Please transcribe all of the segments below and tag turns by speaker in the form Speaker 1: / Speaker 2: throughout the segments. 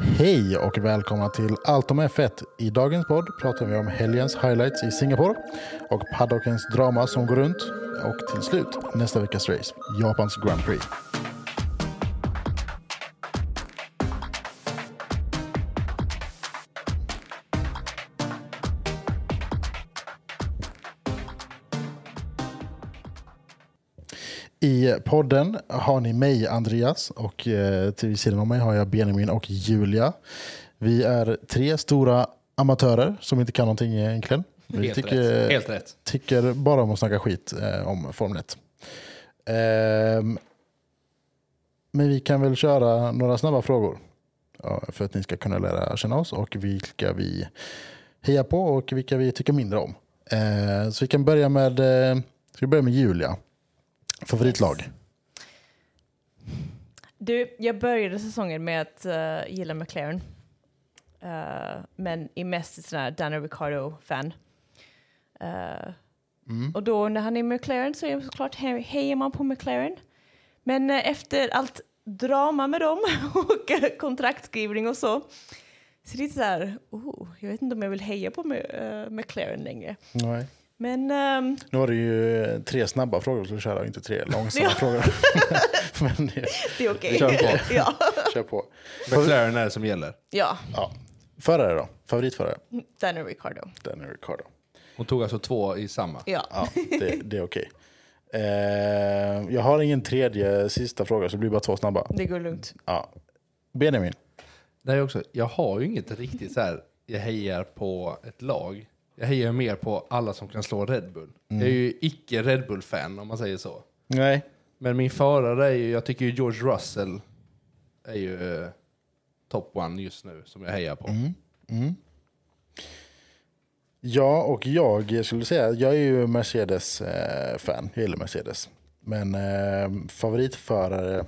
Speaker 1: Hej och välkomna till Allt om F1. I dagens podd pratar vi om helgens highlights i Singapore och paddockens drama som går runt och till slut nästa veckas race, Japans Grand Prix. I podden har ni mig, Andreas, och eh, till sidan om mig har jag Benjamin och Julia. Vi är tre stora amatörer som inte kan någonting egentligen. Vi
Speaker 2: Helt, rätt. Helt rätt.
Speaker 1: tycker bara om att snacka skit eh, om Formel 1. Ehm, men vi kan väl köra några snabba frågor ja, för att ni ska kunna lära känna oss och vilka vi hejar på och vilka vi tycker mindre om. Ehm, så vi kan börja med, eh, ska vi börja med Julia. Favoritlag?
Speaker 3: Du, jag började säsongen med att eh, gilla McLaren. Eh, men är mest ett sån här Danny Ricardo-fan. Eh, Och då när han är i McLaren så är jag såklart he- hejar man på McLaren. Men eh, efter allt drama med dem och eh, kontraktskrivning och så. Så det är lite så här, oh, jag vet inte om jag vill heja på Ma- eh, McLaren längre.
Speaker 1: Nej.
Speaker 3: Men ehm,
Speaker 1: Nu har du ju eh, tre snabba frågor så köra och inte tre långsamma
Speaker 3: Ja.
Speaker 1: frågor. Men eh,
Speaker 3: det är okej.
Speaker 1: Kör på.
Speaker 3: ja.
Speaker 1: kör på.
Speaker 2: McLaren är det som gäller.
Speaker 3: ja,
Speaker 1: Ja. Förare då? Favoritförare?
Speaker 3: Danny Ricardo.
Speaker 1: Danny Ricardo.
Speaker 2: Hon tog alltså två i samma.
Speaker 3: Ja.
Speaker 1: Ja, det, det är okej. Eh, jag har ingen tredje sista fråga så det blir bara två snabba.
Speaker 3: det går lugnt.
Speaker 1: Ja. Benjamin,
Speaker 2: Det här är också, jag har ju inget riktigt så här, jag hejar på ett lag. Jag hejar mer på alla som kan slå Red Bull. Jag är ju icke Red Bull-fan om man säger så.
Speaker 1: nej.
Speaker 2: Men min förare är ju, jag tycker ju George Russell är ju eh, top one just nu som jag hejar på.
Speaker 1: Mm, Ja, och jag skulle säga, jag är ju Mercedes-fan. jag gillar Mercedes. Men eh, favoritförare...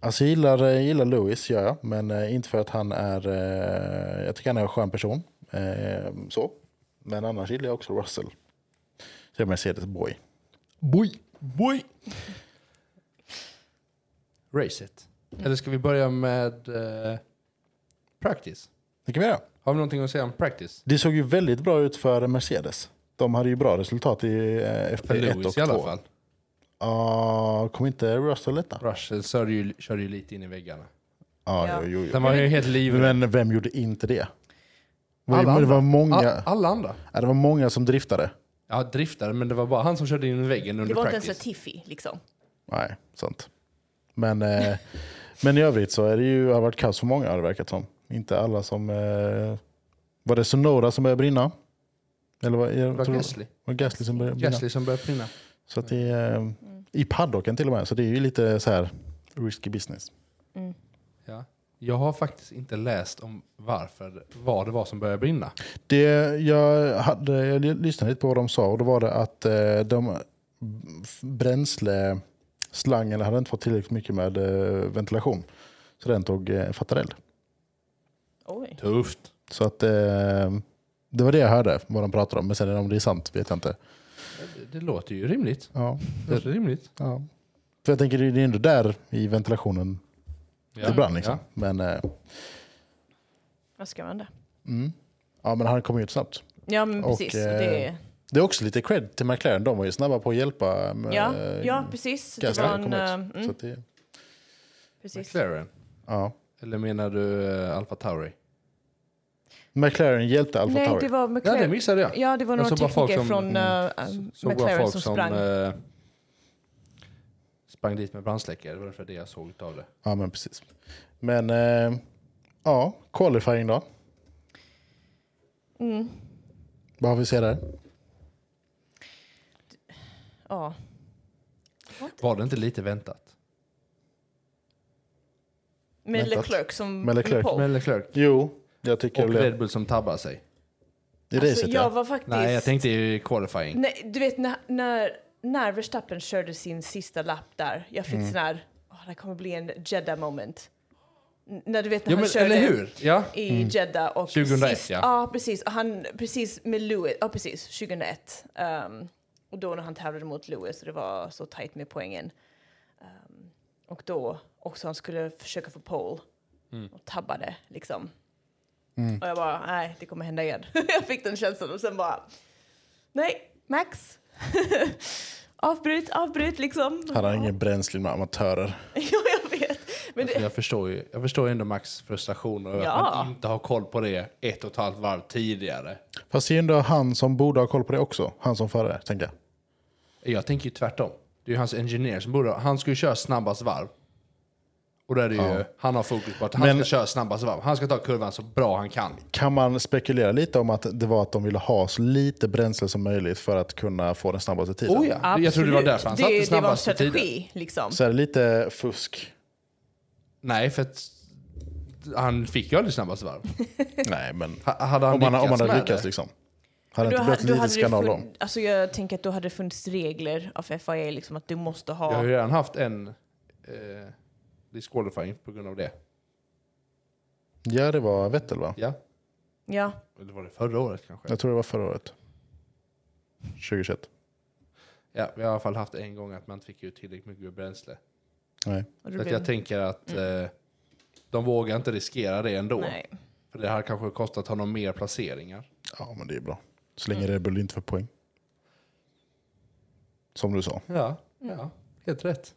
Speaker 1: Alltså jag gillar, jag gillar Lewis, gör jag. Men eh, inte för att han är... Eh, jag tycker han är en skön person. Eh, så. Men annars gillar jag också Russell. Så jag är Mercedes-boy.
Speaker 2: Boy! Boy! Race it. Eller ska vi börja med eh, practice?
Speaker 1: Det kan vi göra.
Speaker 2: Har vi någonting att säga om practice?
Speaker 1: Det såg ju väldigt bra ut för Mercedes. De hade ju bra resultat i eh,
Speaker 2: För
Speaker 1: FP1 och
Speaker 2: Lewis
Speaker 1: 2.
Speaker 2: i alla fall.
Speaker 1: Ja, kom inte Russell detta?
Speaker 2: Russell körde ju, körde ju lite in i väggarna.
Speaker 1: Ja,
Speaker 3: Ja.
Speaker 1: Jo, jo, jo.
Speaker 2: Den var ju helt livrädd.
Speaker 1: Men vem gjorde inte det? Det
Speaker 2: Alla
Speaker 1: var, det var
Speaker 2: andra.
Speaker 1: många,
Speaker 2: All, alla andra.
Speaker 1: ja, det var många som driftade.
Speaker 2: Ja, driftade, men det var bara han som körde in i väggen
Speaker 3: Det
Speaker 2: under
Speaker 3: var inte ens
Speaker 2: practice.
Speaker 3: så tiffy liksom.
Speaker 1: Nej, sant. Men, eh, men i övrigt så är det ju, har det varit kaos för många har det verkat som. Inte alla som... Eh, var det Sonora som började brinna? Eller var, jag
Speaker 2: det var
Speaker 1: tror-
Speaker 2: Gasly.
Speaker 1: var Gasly som började brinna?
Speaker 2: Gasly som började brinna.
Speaker 1: Så att det, är, eh, I paddocken till och med, så det är ju lite så här risky business. Mm.
Speaker 2: Ja. Jag har faktiskt inte läst om varför, vad det var som började brinna.
Speaker 1: Det, jag, hade, jag lyssnade lite på vad de sa och då var det att eh, de bränsleslangen hade inte fått tillräckligt mycket med eh, ventilation. Så den tog eh, fattar eld.
Speaker 3: Oj.
Speaker 1: Typ.
Speaker 2: Tufft.
Speaker 1: Så att eh, det var det jag hörde vad de pratade om. Men sen om det är sant vet jag inte.
Speaker 2: Det, det låter ju rimligt.
Speaker 1: Ja,
Speaker 2: Det låter rimligt.
Speaker 1: ja. För jag tänker det är ändå där i ventilationen det brann liksom.
Speaker 2: Ja.
Speaker 1: Men, eh,
Speaker 3: Vad ska man det?
Speaker 1: mm. ja, men han kom ju ut snabbt.
Speaker 3: Ja, men
Speaker 1: Och,
Speaker 3: precis.
Speaker 1: eh,
Speaker 3: det, är-
Speaker 1: Det är också lite cred till McLaren. De var ju snabba på att hjälpa. eh,
Speaker 3: ja, ja, precis. Det
Speaker 1: Gasly
Speaker 3: var
Speaker 1: kom ut.
Speaker 3: en, eh,
Speaker 1: Så
Speaker 3: mm,
Speaker 1: att det,
Speaker 3: precis.
Speaker 2: McLaren.
Speaker 1: ja.
Speaker 2: Eller menar du uh, Alfa Tauri?
Speaker 1: McLaren hjälpte Alfa
Speaker 3: Nej,
Speaker 1: Tauri.
Speaker 3: det var
Speaker 2: Ja, det
Speaker 3: McLaren.
Speaker 2: missade jag.
Speaker 3: Ja, det var
Speaker 2: Jag
Speaker 3: några
Speaker 2: såg bara folk
Speaker 3: tekniker
Speaker 2: som-
Speaker 3: från
Speaker 2: mm,
Speaker 3: eh,
Speaker 2: Så
Speaker 3: McLaren
Speaker 2: folk
Speaker 3: som sprang.
Speaker 2: eh, sprang dit med brandsläckare. Det var ungefär det jag såg av det.
Speaker 1: Ja, men precis. Men eh, ja, qualifying då.
Speaker 3: Mm,
Speaker 1: Vad har vi att se där?
Speaker 3: ja.
Speaker 2: Var det inte lite väntat?
Speaker 3: Med
Speaker 1: Väntat.
Speaker 3: Leclerc som
Speaker 1: Med Leclerc.
Speaker 3: pole.
Speaker 2: Men Leclerc
Speaker 1: Jo, jag tycker
Speaker 2: och
Speaker 1: väl
Speaker 2: Red Bull som tabbar sig.
Speaker 1: i
Speaker 3: Alltså,
Speaker 1: racet
Speaker 3: jag
Speaker 1: ja.
Speaker 3: var faktiskt...
Speaker 2: Nej, jag tänkte ju qualifying.
Speaker 3: Nej, du vet när, när, när Verstappen körde sin sista lapp där. Jag
Speaker 1: Mm.
Speaker 3: fick sån här, åh, det kommer bli en Jeddah moment. N- när du vet när
Speaker 2: Ja,
Speaker 3: han
Speaker 2: men,
Speaker 3: körde...
Speaker 2: eller hur? Ja.
Speaker 3: i Jeddah. Och
Speaker 2: 2001,
Speaker 3: sist,
Speaker 2: Mm. ja.
Speaker 3: precis. Och han, precis med Lewis, ja precis, 2001. Ehm, och då när han tävlade mot Lewis och det var så tajt med poängen. Ehm, och då också han skulle försöka få pole.
Speaker 2: Mm.
Speaker 3: och tabbade liksom.
Speaker 1: Mm.
Speaker 3: Och jag bara, nej, det kommer hända igen. jag fick den känslan och sen bara, nej, Max. avbryt, avbryt liksom.
Speaker 1: Hade han ingen bränsle med amatörer?
Speaker 3: ja, jag vet. Men
Speaker 2: Alltså,
Speaker 3: det,
Speaker 2: jag, förstår ju, jag förstår ju ändå Max frustration över
Speaker 3: Ja.
Speaker 2: att man inte har koll på det ett och ett halvt varv tidigare.
Speaker 1: Fast det är ju ändå han som borde ha koll på det också. Han som förare, tänker jag.
Speaker 2: Jag tänker ju tvärtom. Det är ju hans ingenjör som borde... Han ska ju köra snabbast varv. Och där är det ju, han har fokus på att han
Speaker 1: Men-
Speaker 2: ska köra snabbast varv. Han ska ta kurvan så bra han kan.
Speaker 1: Kan man spekulera lite om att det var att de ville ha så lite bränsle som möjligt för att kunna få den snabbaste tiden?
Speaker 2: Oh, ja. Jag tror det var
Speaker 3: absolut.
Speaker 2: därför han
Speaker 3: det,
Speaker 2: satte
Speaker 3: det var en
Speaker 2: snabbaste tiden.
Speaker 3: strategi liksom.
Speaker 1: Så är det lite fusk?
Speaker 2: Nej, för att han fick ju aldrig snabbast varv.
Speaker 1: Nej, men
Speaker 2: Ha- Hade han
Speaker 1: om man, om man hade
Speaker 2: med
Speaker 1: lyckats
Speaker 2: det?
Speaker 1: liksom. Hade
Speaker 3: Då
Speaker 1: det inte
Speaker 3: ha-
Speaker 1: blivit
Speaker 3: då
Speaker 1: lite
Speaker 3: hade det
Speaker 1: skandal då?
Speaker 3: funn- Alltså jag tänker att då hade det funnits regler av FIA, liksom att du måste
Speaker 2: Jag har
Speaker 3: ha...
Speaker 2: ju redan haft en eh, disqualifying på grund av det.
Speaker 1: Ja, det var Vettel va?
Speaker 2: Ja,
Speaker 3: Ja,
Speaker 2: eller var det förra året kanske?
Speaker 1: Jag tror det var förra året. 2021.
Speaker 2: Ja, vi har i alla fall haft en gång att man inte fick ut tillräckligt mycket bränsle.
Speaker 1: Nej.
Speaker 3: och
Speaker 2: Så
Speaker 3: det
Speaker 2: att jag tänker att eh, de vågar inte riskera det ändå.
Speaker 3: Nej.
Speaker 2: För det här kanske kostat honom mer placeringar.
Speaker 1: Ja, men det är bra. Så länge Red Bull inte får poäng. Som du sa.
Speaker 2: Ja, ja helt rätt.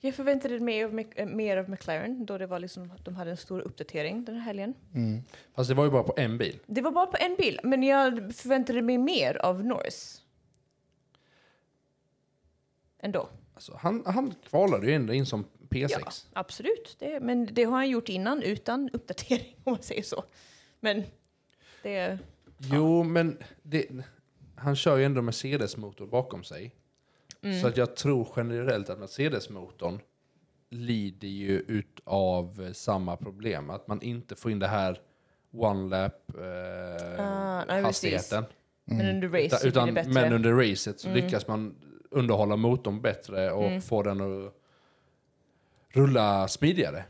Speaker 3: Jag förväntade mig av Mc- eh, mer av McLaren då det var liksom, de hade en stor uppdatering den här helgen.
Speaker 2: Fast det var ju bara på en bil.
Speaker 3: Det var bara på en bil, men jag förväntade mig mer av Norris. Ändå.
Speaker 2: Alltså, han, han kvalade ju ändå in som P6.
Speaker 3: Ja, absolut. Det, men det har han gjort innan utan uppdatering om man säger så. Men det...
Speaker 2: Jo, men det, han kör ju ändå Mercedes-motor bakom sig.
Speaker 3: Mm.
Speaker 2: Så att jag tror generellt att Mercedes-motorn lider ju utav eh, samma problem. Att man inte får in det här one lap eh,
Speaker 3: Ah, nej,
Speaker 2: hastigheten.
Speaker 3: Men under race
Speaker 2: Utan, Mm.
Speaker 3: så blir det
Speaker 2: utan,
Speaker 3: bättre. Mm.
Speaker 2: men under racet så lyckas man underhålla motorn bättre och få den att rulla smidigare.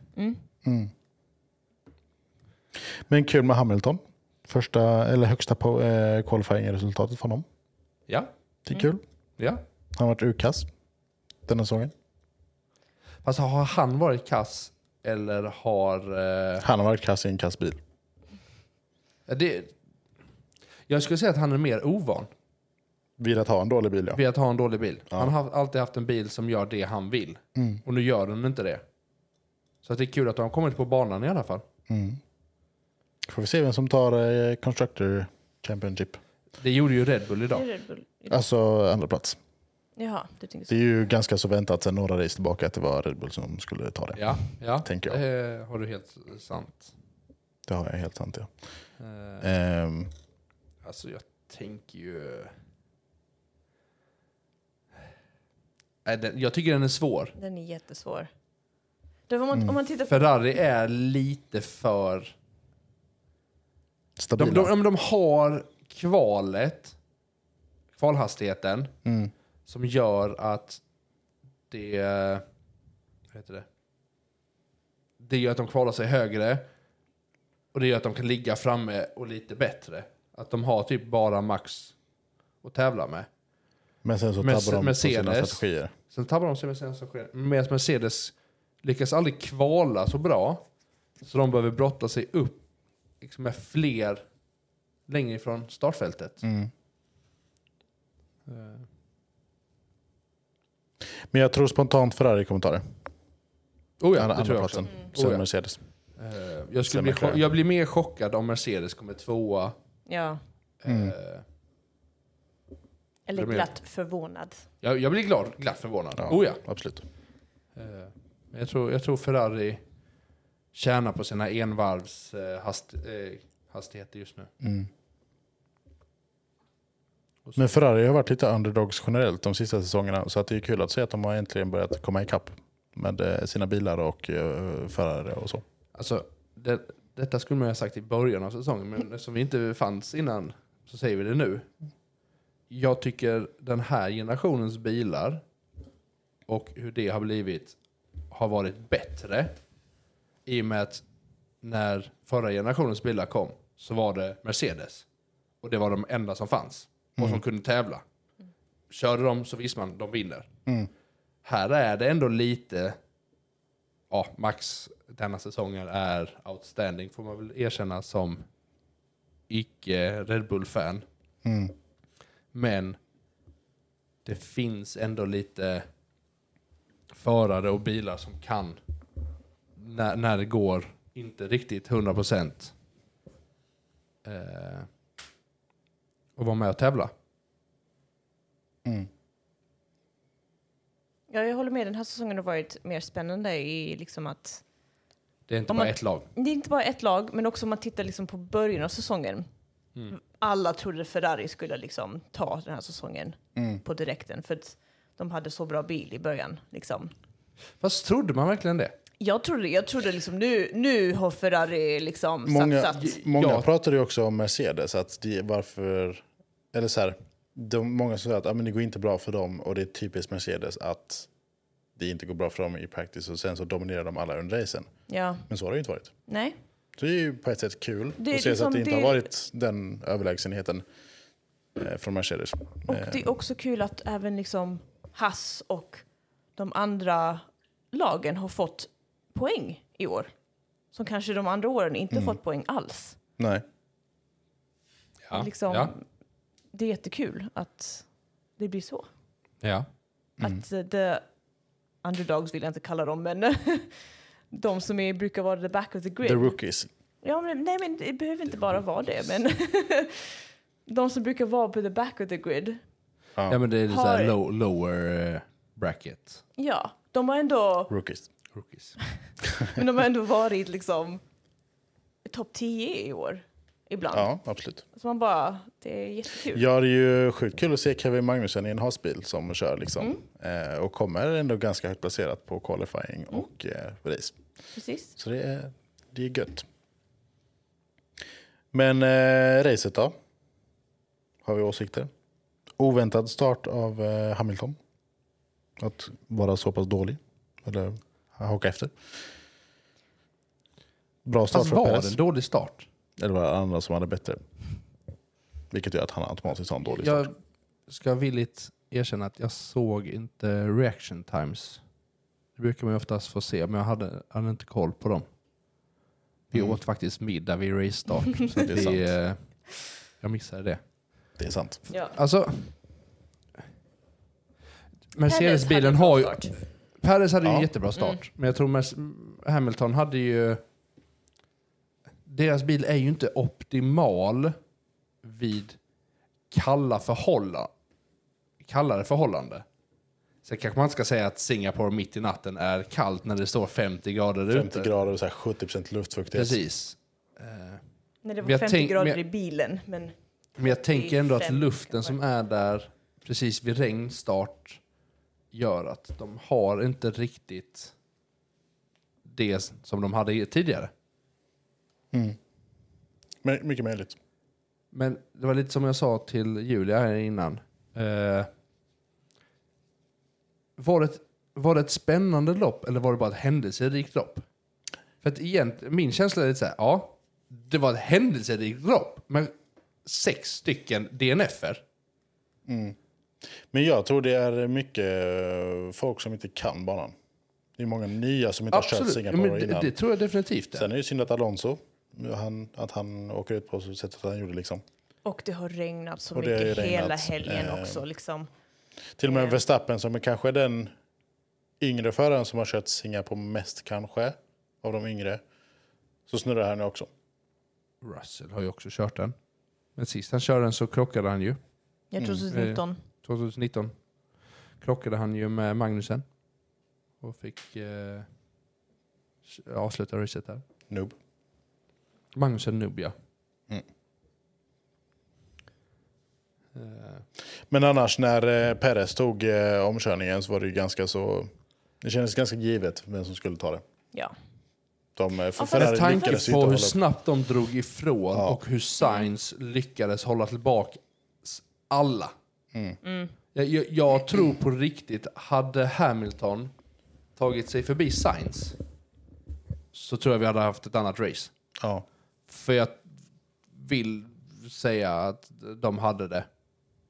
Speaker 1: Men kul med Hamilton. Första, eller högsta po- eh, qualifying-resultatet från honom.
Speaker 2: Ja,
Speaker 1: Det
Speaker 3: Mm.
Speaker 1: är kul.
Speaker 2: ja.
Speaker 1: Han har varit urkass denna säsongen.
Speaker 2: Fast har han varit kass eller har... Eh,
Speaker 1: Han har varit kass i en kass bil.
Speaker 2: det, jag skulle säga att han är mer ovan
Speaker 1: Vid att ha en dålig bil ja.
Speaker 2: vid att ha en dålig bil. Han har haft- alltid haft en bil som gör det han vill.
Speaker 1: Mm,
Speaker 2: Och nu gör den inte det. Så att det är kul att de har kommit på banan i alla fall.
Speaker 1: mm. Får vi se vem som tar eh, Constructor Championship.
Speaker 2: Det gjorde ju Red Bull
Speaker 3: Det är
Speaker 2: idag.
Speaker 3: Red Bull.
Speaker 1: Alltså andra plats.
Speaker 3: Jaha, du tänkte
Speaker 1: Det
Speaker 3: så.
Speaker 1: är ju ganska så väntat sen några race tillbaka att det var Red Bull som skulle ta det.
Speaker 2: Ja, ja.
Speaker 1: Tänker jag.
Speaker 2: det har du helt sant.
Speaker 1: Det har jag helt sant ja.
Speaker 2: Eh,
Speaker 1: Ehm,
Speaker 2: Alltså jag tänker ju... Nej, den- Jag tycker den är svår.
Speaker 3: Den är jättesvår. Det var om, man, om man tittar på...
Speaker 2: Ferrari är lite för...
Speaker 1: stabila.
Speaker 2: De, de, de, de har kvalet, kvalhastigheten,
Speaker 1: Mm.
Speaker 2: som gör att det... Vad heter det? Det gör att de kvalar sig högre och det gör att de kan ligga framme och lite bättre. Att de har typ bara max att tävla med.
Speaker 1: Men sen så tabbar
Speaker 2: Mer-
Speaker 1: de på sina
Speaker 2: Mercedes.
Speaker 1: strategier.
Speaker 2: Sen tappar de sig med sen som sker. Medan Mercedes lyckas aldrig kvala så bra. Så de behöver brotta sig upp liksom med fler längre ifrån startfältet.
Speaker 1: Mm. Eh, Men jag tror spontant Ferrari kommer ta det. Andra-
Speaker 2: Oh det tror
Speaker 1: andra
Speaker 2: jag också.
Speaker 1: platsen.
Speaker 2: Oh
Speaker 1: Sen
Speaker 2: ja.
Speaker 1: Mercedes.
Speaker 2: Eh, jag, skulle
Speaker 1: Sen
Speaker 2: bli
Speaker 1: McLaren.
Speaker 2: chock- jag blir mer chockad om Mercedes kommer tvåa.
Speaker 3: Ja,
Speaker 1: Mm.
Speaker 2: Eh,
Speaker 3: eller
Speaker 2: Vad menar
Speaker 3: glatt förvånad.
Speaker 2: jag, jag blir glad, glatt förvånad.
Speaker 1: Ja.
Speaker 2: Oh ja.
Speaker 1: Absolut.
Speaker 2: Eh, men jag, tror, jag tror Ferrari tjänar på sina envarvs eh, hast, eh, hastigheter just nu.
Speaker 1: Mm.
Speaker 2: Och så-
Speaker 1: Men Ferrari har varit lite underdogs generellt de sista säsongerna. Så att det är kul att se att de har äntligen börjat komma ikapp med eh, sina bilar och eh, förare och så.
Speaker 2: Alltså, det, detta skulle man ju ha sagt i början av säsongen, men eftersom vi inte fanns innan så säger vi det nu. Jag tycker den här generationens bilar och hur det har blivit har varit bättre i och med att när förra generationens bilar kom så var det Mercedes och det var de enda som fanns och som kunde tävla. Körde de så visste man, de vinner.
Speaker 1: Mm.
Speaker 2: Här är det ändå lite ja, Max denna säsongen är outstanding får man väl erkänna som icke Red Bull-fan.
Speaker 1: Mm.
Speaker 2: Men det finns ändå lite förare och bilar som kan när, när det går inte riktigt 100% eh, och vara med och tävla.
Speaker 1: Mm.
Speaker 3: Ja, jag håller med, den här säsongen har varit mer spännande i liksom att
Speaker 2: Det är inte
Speaker 3: Om
Speaker 2: bara
Speaker 3: man-
Speaker 2: ett lag.
Speaker 3: Det är inte bara ett lag, men också om man tittar liksom på början av säsongen.
Speaker 2: Mm.
Speaker 3: Alla trodde Ferrari skulle liksom ta den här säsongen
Speaker 1: Mm.
Speaker 3: på direkten för att de hade så bra bil i början. Liksom.
Speaker 2: Fast trodde man verkligen det?
Speaker 3: Jag trodde, jag trodde liksom nu, nu har Ferrari liksom
Speaker 1: Många,
Speaker 3: satsat.
Speaker 1: många
Speaker 2: Ja.
Speaker 1: pratar ju också om Mercedes. Att det, varför, eller så här, de, många som säger att ah, men det går inte bra för dem och det är typiskt Mercedes att det inte går bra för dem i practice och sen så dominerar de alla under racen.
Speaker 3: Ja,
Speaker 1: Men så har det ju inte varit.
Speaker 3: nej.
Speaker 1: Så det är ju på ett sätt kul
Speaker 3: Det är
Speaker 1: att se så
Speaker 3: liksom-
Speaker 1: att det inte
Speaker 3: det-
Speaker 1: har varit den överlägsenheten eh, från Mercedes.
Speaker 3: Och
Speaker 1: Eh,
Speaker 3: det är också kul att även liksom Hass och de andra lagen har fått poäng i år. Som kanske de andra åren inte
Speaker 2: Mm.
Speaker 3: fått poäng alls.
Speaker 1: Nej.
Speaker 2: Ja.
Speaker 3: liksom,
Speaker 2: Ja.
Speaker 3: Det är jättekul att det blir så.
Speaker 2: ja. Mm.
Speaker 1: Mm.
Speaker 3: Att eh, the underdogs vill jag inte kalla dem, men de som är, brukar vara the back of the grid.
Speaker 1: The rookies.
Speaker 3: ja, men, nej, men det behöver inte bara vara det, men de som brukar vara på the back of the grid,
Speaker 1: Ja,
Speaker 2: Ja men det är så
Speaker 3: Har-
Speaker 2: här low, lower eh, bracket.
Speaker 3: ja, de har ändå,
Speaker 1: Rookies.
Speaker 2: Rookies.
Speaker 3: men de har ändå varit liksom topp 10 i år ibland.
Speaker 1: Ja, absolut.
Speaker 3: Så man bara, det är jättekul.
Speaker 1: Ja, det är ju sjukt kul att se Kevin Magnusson i en hasbil som kör liksom. Eh, och kommer ändå ganska högt placerat på qualifying och eh, race.
Speaker 3: Precis.
Speaker 1: Så det är, det är gött. Men eh, racet då? Har vi åsikter? Oväntad start av eh, Hamilton. Att vara så pass dålig. Eller haka efter. Bra start
Speaker 2: Fast
Speaker 1: för
Speaker 2: var det
Speaker 1: Perez.
Speaker 2: en dålig start?
Speaker 1: Eller var det andra som hade bättre? Vilket gör att han automatiskt har en dålig start.
Speaker 2: Jag ska villigt erkänna att jag såg inte reaction times. Det brukar man ju oftast få se, men jag hade, hade inte koll på dem. Vi
Speaker 1: Mm.
Speaker 2: åt faktiskt middag vid race start, så
Speaker 1: Det är sant.
Speaker 2: vi, eh, jag missade det.
Speaker 1: Det är sant.
Speaker 3: Ja.
Speaker 2: Alltså...
Speaker 3: Perez
Speaker 2: Mercedes-bilen
Speaker 3: hade en bra
Speaker 2: har ju...
Speaker 3: start.
Speaker 2: Perez hade ju
Speaker 1: Ja.
Speaker 2: en jättebra start.
Speaker 3: Mm.
Speaker 2: Men jag tror Merce- Hamilton hade ju... Deras bil är ju inte optimal vid kalla förhålla, kallare förhållande. Sen kanske man inte ska säga att Singapore mitt i natten är kallt när det står 50 grader
Speaker 1: 50
Speaker 2: ute.
Speaker 1: grader och så här 70 luftfuktighet.
Speaker 2: Precis. Eh,
Speaker 3: När det
Speaker 2: Men
Speaker 3: var
Speaker 2: jag
Speaker 3: 50
Speaker 2: tänk-
Speaker 3: grader
Speaker 2: men-
Speaker 3: i bilen, men
Speaker 2: Men jag tänker ändå att
Speaker 3: 35
Speaker 2: luften som
Speaker 3: kanske.
Speaker 2: är där precis vid regnstart gör att de har inte riktigt det som de hade tidigare.
Speaker 1: Mm. Men, mycket möjligt.
Speaker 2: Men det var lite som jag sa till Julia här innan. Eh, var, det ett, var det ett spännande lopp eller var det bara ett händelserikt lopp? För att igen, min känsla är lite så här, ja, det var ett händelserikt lopp, men sex stycken DNFer.
Speaker 1: Men jag tror det är mycket eh, folk som inte kan banan. Det är många nya som inte har kört
Speaker 2: Absolut, ja,
Speaker 1: Singapore
Speaker 2: men det,
Speaker 1: innan.
Speaker 2: det tror jag definitivt. Det.
Speaker 1: Sen är det ju synd att Alonso, han, att han åker ut på så sättet han gjorde. Liksom.
Speaker 3: Och det har regnat så
Speaker 1: Och det har
Speaker 3: mycket
Speaker 1: ju regnat,
Speaker 3: hela helgen
Speaker 1: eh,
Speaker 3: också. Liksom.
Speaker 2: mm,
Speaker 1: Till och med
Speaker 3: Eh.
Speaker 1: Verstappen som är kanske den yngre föraren som har kört Singapore mest kanske, av de yngre. Så snurrar han ju också.
Speaker 2: Russell har ju också kört den. Men sist han körde den så krockade han ju.
Speaker 3: Jag tror 2019.
Speaker 2: 2019 krockade han ju med Magnusen. Och fick eh, avsluta racet där.
Speaker 1: Noob.
Speaker 2: Magnusen Nubia.
Speaker 1: Mm.
Speaker 2: Eh,
Speaker 1: Men annars när eh, Perez tog eh, omkörningen så var det ju ganska så... Det kändes ganska givet vem som skulle ta det.
Speaker 3: Ja.
Speaker 1: De, eh, för
Speaker 3: Ja, fast-
Speaker 1: Ferrari
Speaker 2: Med tanke
Speaker 1: lyckades ju
Speaker 2: på
Speaker 1: inte
Speaker 2: hur
Speaker 1: hålla upp.
Speaker 2: snabbt de drog ifrån
Speaker 1: Ja.
Speaker 2: och hur Sainz lyckades hålla tillbaka s- alla.
Speaker 1: Mm.
Speaker 2: Jag, jag, jag tror på riktigt, hade Hamilton tagit sig förbi Sainz så tror jag vi hade haft ett annat race.
Speaker 1: Ja.
Speaker 2: För jag vill säga att de hade det.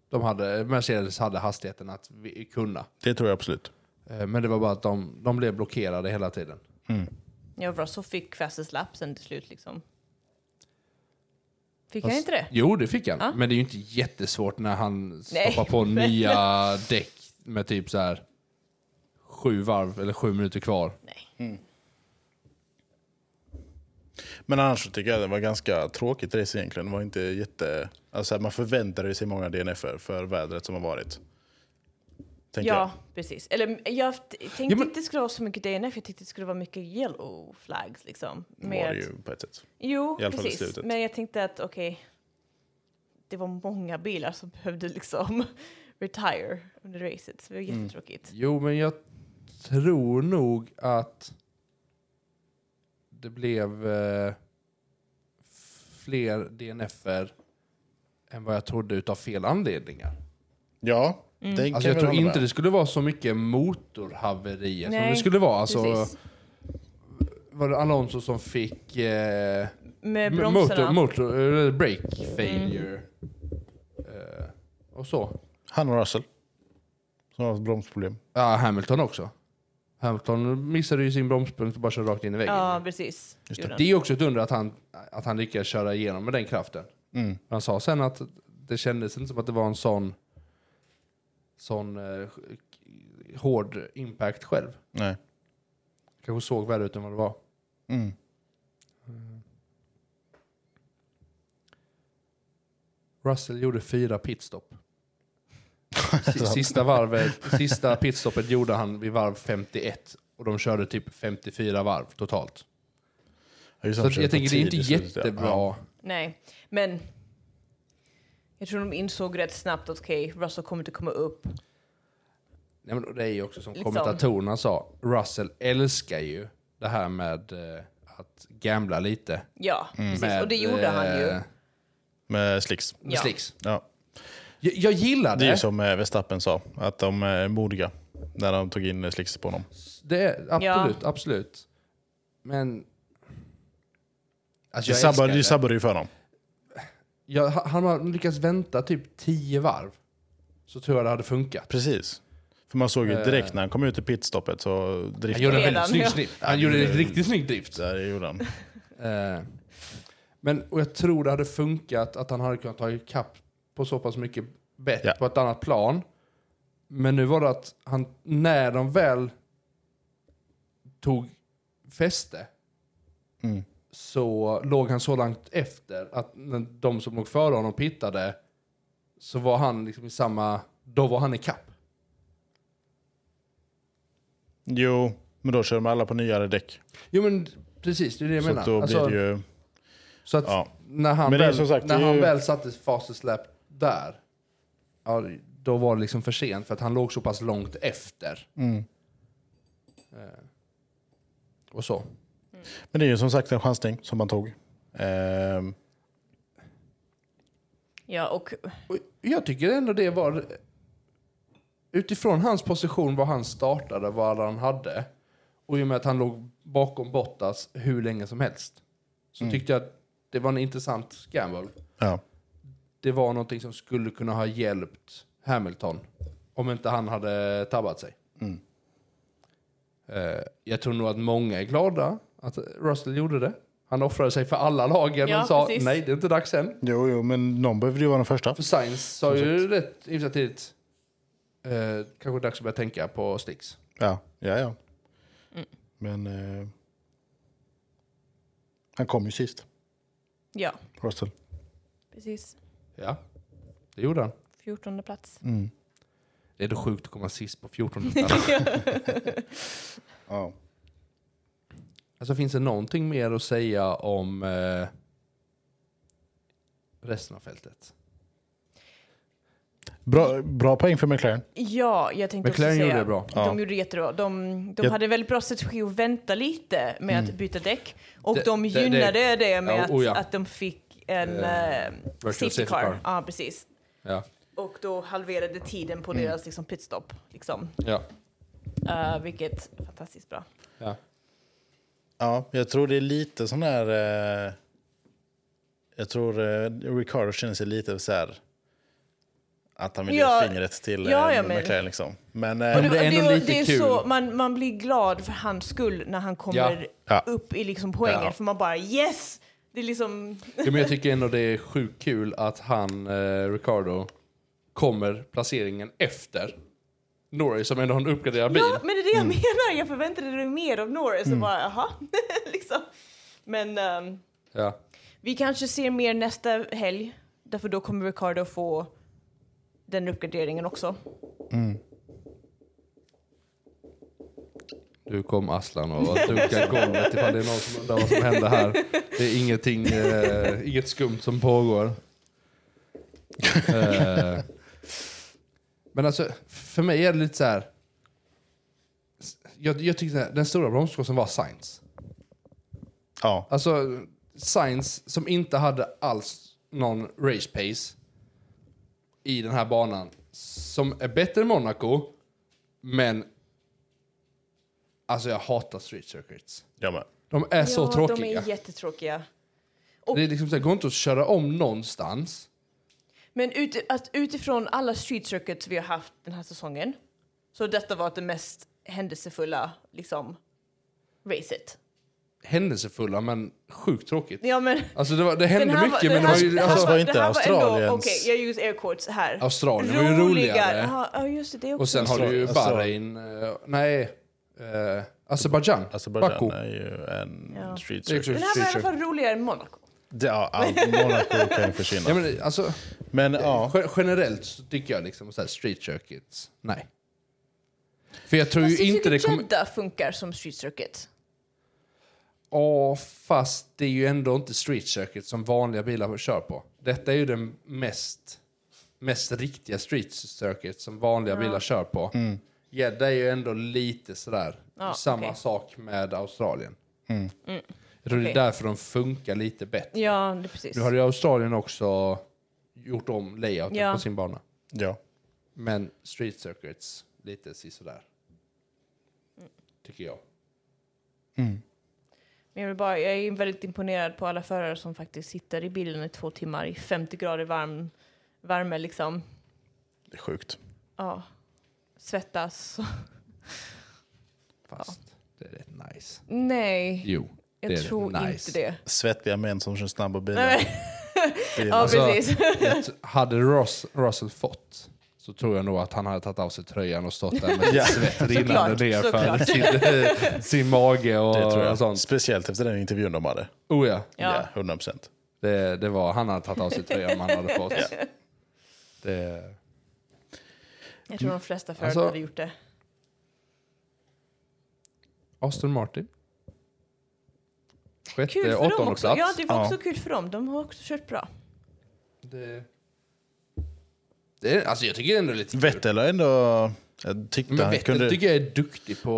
Speaker 2: De hade, Mercedes hade hastigheten att vi, kunna.
Speaker 1: Det tror jag absolut.
Speaker 2: Eh, Men det var bara att de, de blev blockerade hela tiden.
Speaker 1: Mm.
Speaker 3: Jag var så fick Fastest Lap sen till slut liksom. Fick han
Speaker 2: Fast-
Speaker 3: inte det?
Speaker 2: Jo, det fick han.
Speaker 3: Ja.
Speaker 2: Men det är ju inte jättesvårt när han
Speaker 3: Nej,
Speaker 2: stoppar på
Speaker 3: men-
Speaker 2: nya däck med typ så här sju varv eller sju minuter kvar.
Speaker 1: Men annars så tycker jag det var ganska tråkigt race egentligen. Det var inte jätte... Alltså man förväntade sig många DNFer för vädret som har varit. Tänker
Speaker 3: Ja, precis. Eller jag t- tänkte
Speaker 2: Ja, men-
Speaker 3: inte det skulle vara så mycket DNF, jag tänkte det skulle vara mycket yellow flags liksom.
Speaker 1: jag.
Speaker 3: Mer
Speaker 1: Var
Speaker 3: att-
Speaker 1: det ju på ett sätt.
Speaker 3: Jo,
Speaker 1: I alla fall i
Speaker 3: precis.
Speaker 1: slutet.
Speaker 3: Men jag tänkte att okej, det var många bilar som behövde liksom retire under racet. Så det var
Speaker 1: Mm.
Speaker 3: jättetråkigt.
Speaker 2: Jo, men jag tror nog att det blev eh, fler DNFer än vad jag trodde utav fel anledningar.
Speaker 1: Ja,
Speaker 3: Mm.
Speaker 1: det kan
Speaker 2: Alltså jag
Speaker 1: väl
Speaker 2: tror
Speaker 1: hålla
Speaker 2: inte
Speaker 1: med.
Speaker 2: det skulle vara så mycket motorhaverier som
Speaker 3: Nej,
Speaker 2: det skulle vara. Alltså,
Speaker 3: Precis.
Speaker 2: var det Alonso som fick eh,
Speaker 3: Med
Speaker 2: m-
Speaker 3: bromsarna.
Speaker 2: motor, motor, eller brake failure? Eh, och så.
Speaker 1: Han och Russell. Som har ett bromsproblem.
Speaker 2: Ja, Hamilton också. Hamilton missade ju sin bromspunkt och bara körde rakt in i väggen.
Speaker 3: ja, precis.
Speaker 1: Just
Speaker 3: Gjorde
Speaker 2: Det är ju också ett under att han, att han lyckades köra igenom med den kraften.
Speaker 1: Mm.
Speaker 2: Han sa sen att det kändes inte som att det var en sån, sån eh, hård impact själv.
Speaker 1: Nej.
Speaker 2: Kanske såg värre ut än vad det var.
Speaker 1: Mm.
Speaker 2: Russell gjorde fyra pitstop.
Speaker 1: Sant.
Speaker 2: S- Sista, varvet, sista pitstoppet gjorde han vid varv 51 och de körde typ 54 varv totalt.
Speaker 1: Ja, just
Speaker 2: Så
Speaker 1: han
Speaker 2: att
Speaker 1: försökte
Speaker 2: jag tänker det är
Speaker 1: tid
Speaker 2: inte
Speaker 1: i slutet, ja.
Speaker 2: jättebra.
Speaker 1: Ja.
Speaker 3: Nej, men jag tror de insåg rätt snabbt att okej, Russell kommer inte komma upp.
Speaker 2: Nej, men det är ju också som
Speaker 3: Liksom.
Speaker 2: kommentatorerna sa, Russell älskar ju det här med eh, att gambla lite.
Speaker 3: Ja, precis.
Speaker 2: Med,
Speaker 3: och det gjorde han
Speaker 2: Mm. eh,
Speaker 3: ju.
Speaker 1: Med slicks.
Speaker 2: med
Speaker 3: Ja.
Speaker 2: slicks.
Speaker 1: Ja.
Speaker 2: Jag, jag gillar
Speaker 1: Det är
Speaker 2: det.
Speaker 1: ju som eh, Verstappen sa, att de eh, är modiga när de tog in eh, slicks på honom.
Speaker 2: Det är, absolut, absolut. Men... Alltså,
Speaker 1: Det
Speaker 2: jag
Speaker 1: sabbade,
Speaker 2: älskar
Speaker 1: det
Speaker 2: det.
Speaker 1: sabbade ju för dem.
Speaker 2: Jag, han har lyckats vänta typ tio varv. Så tror jag det hade funkat.
Speaker 1: Precis. För man såg ju direkt när han kom ut i pitstoppet så
Speaker 2: Han
Speaker 1: driftade
Speaker 2: Eh. gjorde en
Speaker 3: Redan,
Speaker 2: väldigt snygg
Speaker 3: ja.
Speaker 2: drift. Han gjorde en riktigt snygg drift.
Speaker 1: Där gjorde han.
Speaker 2: Eh, Men, och jag tror det hade funkat att han hade kunnat ta ikapp på så pass mycket bett
Speaker 1: Ja.
Speaker 2: på ett annat plan. Men nu var det att han, när de väl tog fäste
Speaker 1: Mm.
Speaker 2: så låg han så långt efter att när de som låg före honom pittade så var han liksom i samma, då var han i kapp.
Speaker 1: Jo, men då kör de alla på nyare däck.
Speaker 2: Jo men precis, det är det jag
Speaker 1: Så
Speaker 2: menar.
Speaker 1: att då
Speaker 2: Alltså,
Speaker 1: blir det ju...
Speaker 2: Så att
Speaker 1: Ja.
Speaker 2: när han,
Speaker 1: Men det är
Speaker 2: väl,
Speaker 1: som sagt,
Speaker 2: när
Speaker 1: det är
Speaker 2: han
Speaker 1: ju-
Speaker 2: väl satte fastest lap där, ja, då var det liksom för sent för att han låg så pass långt efter.
Speaker 1: Mm.
Speaker 2: Eh, och så.
Speaker 1: Men det är ju som sagt en chansning som man tog. Ehm,
Speaker 3: Ja, och
Speaker 2: Och jag tycker ändå det var... Utifrån hans position, var han startade, vad han hade och i och med att han låg bakom Bottas hur länge som helst så
Speaker 1: Mm.
Speaker 2: tyckte jag att det var en intressant gamble.
Speaker 1: ja.
Speaker 2: Det var någonting som skulle kunna ha hjälpt Hamilton om inte han hade tabbat sig.
Speaker 1: Mm.
Speaker 2: Eh, jag tror nog att många är glada att Russell gjorde det. Han offrade sig för alla lagen
Speaker 3: Ja,
Speaker 2: och sa
Speaker 3: precis.
Speaker 2: nej, det är inte dags än.
Speaker 1: Jo, jo, men någon behövde ju vara den första.
Speaker 2: För Sainz sa ju rätt hyfsat tidigt. Eh, kanske dags att börja tänka på Sticks.
Speaker 1: Ja, ja, ja.
Speaker 2: Mm.
Speaker 1: Men... Eh, han kom ju sist,
Speaker 3: ja,
Speaker 1: Russell.
Speaker 3: precis.
Speaker 2: Ja, det gjorde han.
Speaker 3: 14 plats.
Speaker 1: Mm.
Speaker 2: Det är då sjukt att komma sist på 14
Speaker 1: Ja.
Speaker 2: Alltså finns det någonting mer att säga om eh, resten av fältet?
Speaker 1: Bra, bra poäng för McLaren.
Speaker 3: Ja, jag tänkte
Speaker 2: McLaren
Speaker 3: också säga.
Speaker 2: gjorde det bra.
Speaker 1: Ja.
Speaker 3: De gjorde jättebra. De, de
Speaker 1: Jag-
Speaker 3: hade väldigt bra strategi att vänta lite med att byta däck. Och
Speaker 2: Mm. Det-
Speaker 3: de
Speaker 2: det- det-
Speaker 3: gynnade det, med
Speaker 2: Ja,
Speaker 3: att,
Speaker 2: oh ja.
Speaker 3: att de fick en
Speaker 2: Eh,
Speaker 3: eh,
Speaker 2: virtual
Speaker 3: safety,
Speaker 2: safety
Speaker 3: car.
Speaker 2: car.
Speaker 3: Ja, precis.
Speaker 2: Ja.
Speaker 3: Och då halverade tiden
Speaker 2: Mm.
Speaker 3: på deras liksom, pitstop. Liksom.
Speaker 2: Ja.
Speaker 3: Eh, vilket är fantastiskt bra.
Speaker 2: ja.
Speaker 1: Ja, jag tror det är lite sån här... Eh, jag tror eh, Ricardo känner sig lite så här... Att han vill
Speaker 3: Men
Speaker 1: ge
Speaker 3: jag-
Speaker 1: fingret till
Speaker 3: ja,
Speaker 1: eh,
Speaker 3: jag men-
Speaker 1: McLaren. Liksom. Men,
Speaker 3: Och
Speaker 1: eh,
Speaker 2: Men det är
Speaker 3: och
Speaker 2: ändå
Speaker 3: och
Speaker 2: lite
Speaker 3: det är
Speaker 2: kul.
Speaker 3: Så, man, man blir glad för hans skull när han kommer
Speaker 1: Ja.
Speaker 3: upp i liksom poängen.
Speaker 1: Ja.
Speaker 3: För man bara yes! Det är liksom...
Speaker 2: Ja, men jag tycker ändå det är sjukt kul att han, eh, Ricardo, kommer placeringen efter Norris som ändå har en uppgraderad bil.
Speaker 3: Ja, men det är det jag menar. Jag förväntade mig mer av Norris.
Speaker 2: Mm.
Speaker 3: Och bara, aha. liksom. Men ehm,
Speaker 2: Ja.
Speaker 3: vi kanske ser mer nästa helg. Därför då kommer Ricardo få den uppgraderingen också.
Speaker 2: Nu kom Aslan och dunkade golvet ifall det är någon som undrar vad som hände här. Det är ingenting, eh, inget skumt som pågår. Eh, men alltså, för mig är det lite så här. Jag, jag tycker så här, den stora bromsklossen var Science.
Speaker 1: ja.
Speaker 2: Alltså, Sainz som inte hade alls någon race pace i den här banan. Som är bättre än Monaco, men... Alltså jag hatar street circuits.
Speaker 1: Jag med.
Speaker 2: De är så
Speaker 3: ja, De
Speaker 2: tråkiga.
Speaker 3: är jättetråkiga.
Speaker 2: Det är liksom så här, går inte att köra om någonstans.
Speaker 3: Men ut, att utifrån alla street circuits vi har haft den här säsongen så har detta var det mest händelsefulla liksom, racet.
Speaker 2: Händelsefulla, men sjukt tråkigt.
Speaker 3: Ja, men,
Speaker 2: Alltså det, var, det
Speaker 3: den
Speaker 2: hände
Speaker 3: här var-
Speaker 2: mycket, men
Speaker 3: den
Speaker 2: det
Speaker 3: här-
Speaker 2: var ju...
Speaker 3: den här
Speaker 1: Fast
Speaker 2: Alltså,
Speaker 1: var inte
Speaker 3: den här ändå-
Speaker 1: Australiens-
Speaker 3: Okej, jag use air quotes här.
Speaker 2: Australien var ju roligare.
Speaker 3: Jaha, Ja, just det. det är också
Speaker 2: och sen har du ju
Speaker 1: Australien.
Speaker 2: Bahrain... eh, nej. Eh, Azerbajdzjan.
Speaker 1: Azerbajdzjan
Speaker 2: Baku.
Speaker 1: är ju en
Speaker 3: Ja.
Speaker 1: street
Speaker 2: Det är också
Speaker 1: circuit.
Speaker 3: Den här var i alla fall roligare än Monaco.
Speaker 1: Ja, all- Monaco kan ju
Speaker 2: Ja,
Speaker 1: försvinna.
Speaker 2: men, alltså,
Speaker 1: Men ja,
Speaker 2: ge- generellt så tycker jag liksom så här street circuits, nej. För jag tror
Speaker 3: Fast
Speaker 2: ju
Speaker 3: jag
Speaker 2: inte
Speaker 3: tycker
Speaker 2: det kommer...
Speaker 3: typ Jeddah funkar som street circuit.
Speaker 2: Ja, fast det är ju ändå inte street circuit som vanliga bilar kör på. Detta är ju den mest, mest riktiga street circuit som vanliga bilar kör på. Mm. Gädda är ju ändå lite sådär.
Speaker 3: Ja,
Speaker 2: Samma
Speaker 3: okej. Mm.
Speaker 2: sak med Australien. Jag tror det är
Speaker 3: Okej.
Speaker 2: därför de funkar lite bättre.
Speaker 3: Ja, det är precis.
Speaker 2: Nu har ju Australien också gjort om layouten
Speaker 3: Ja.
Speaker 2: på sin bana.
Speaker 1: ja.
Speaker 2: Men Street Circuits, lite sisådär. Tycker jag.
Speaker 3: Men jag, vill bara, jag är väldigt imponerad på alla förare som faktiskt sitter i bilen i två timmar i 50 grader varm, värme liksom.
Speaker 1: det är sjukt.
Speaker 3: Ja, svettas.
Speaker 2: Fast det är rätt nice.
Speaker 3: Nej,
Speaker 2: Jo,
Speaker 3: jag
Speaker 2: det är
Speaker 3: tror
Speaker 2: nice.
Speaker 3: inte det.
Speaker 1: Svettiga män som kör snabba bilar.
Speaker 3: Nej,
Speaker 1: Det är-
Speaker 3: Ja, precis.
Speaker 2: Alltså, jag t- hade Ross, Russell fått så tror jag nog att han hade tagit av sig tröjan och stått där med
Speaker 1: Ja.
Speaker 2: svett rinnande
Speaker 3: Såklart,
Speaker 2: ner för
Speaker 3: såklart.
Speaker 2: sin, sin mage och,
Speaker 1: det tror
Speaker 2: och
Speaker 1: jag.
Speaker 2: sånt.
Speaker 1: Speciellt efter den intervjun de hade.
Speaker 2: Oh ja,
Speaker 1: Ja,
Speaker 3: Ja.
Speaker 1: 100 procent.
Speaker 2: det, det var, han hade tagit av sig tröjan om han hade fått. Det,
Speaker 3: Jag tror de flesta förare
Speaker 2: Alltså-
Speaker 3: hade gjort det.
Speaker 2: Aston Martin.
Speaker 3: Kul
Speaker 2: Sjätte,
Speaker 3: för dem
Speaker 2: åttonde
Speaker 3: också.
Speaker 2: plats.
Speaker 3: Ja, det var
Speaker 1: Ja.
Speaker 3: också kul för dem. De har också kört bra.
Speaker 2: Det... Det är, alltså jag tycker ändå det är lite kul.
Speaker 1: Vettel har ändå... Jag tyckte
Speaker 2: Men
Speaker 1: han
Speaker 2: Vettel
Speaker 1: kunde,
Speaker 2: tycker jag är duktig på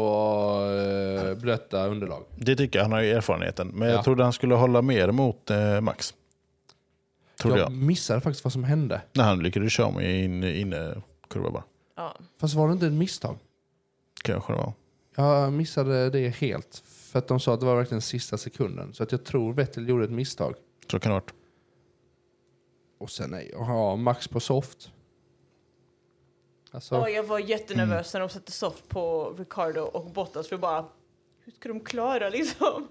Speaker 2: eh, blöta underlag.
Speaker 1: Det tycker jag. Han har ju erfarenheten. Men
Speaker 2: Ja.
Speaker 1: jag trodde han skulle hålla mer mot eh, Max. Trodde jag.
Speaker 2: jag missade faktiskt vad som hände.
Speaker 1: När han lyckades köra mig in, inne kurva bara.
Speaker 3: Ja.
Speaker 2: Fast var det inte ett misstag?
Speaker 1: Kanske det var.
Speaker 2: Jag missade det helt. För att de sa att det var verkligen sista sekunden. Så att jag tror Vettel gjorde ett misstag.
Speaker 1: Så kan det ha varit.
Speaker 2: Och sen är ja, Max på soft. Alltså,
Speaker 3: Ja, jag var jättenervös
Speaker 2: Mm.
Speaker 3: när de satte soft på Ricardo och Bottas för bara hur ska de klara liksom?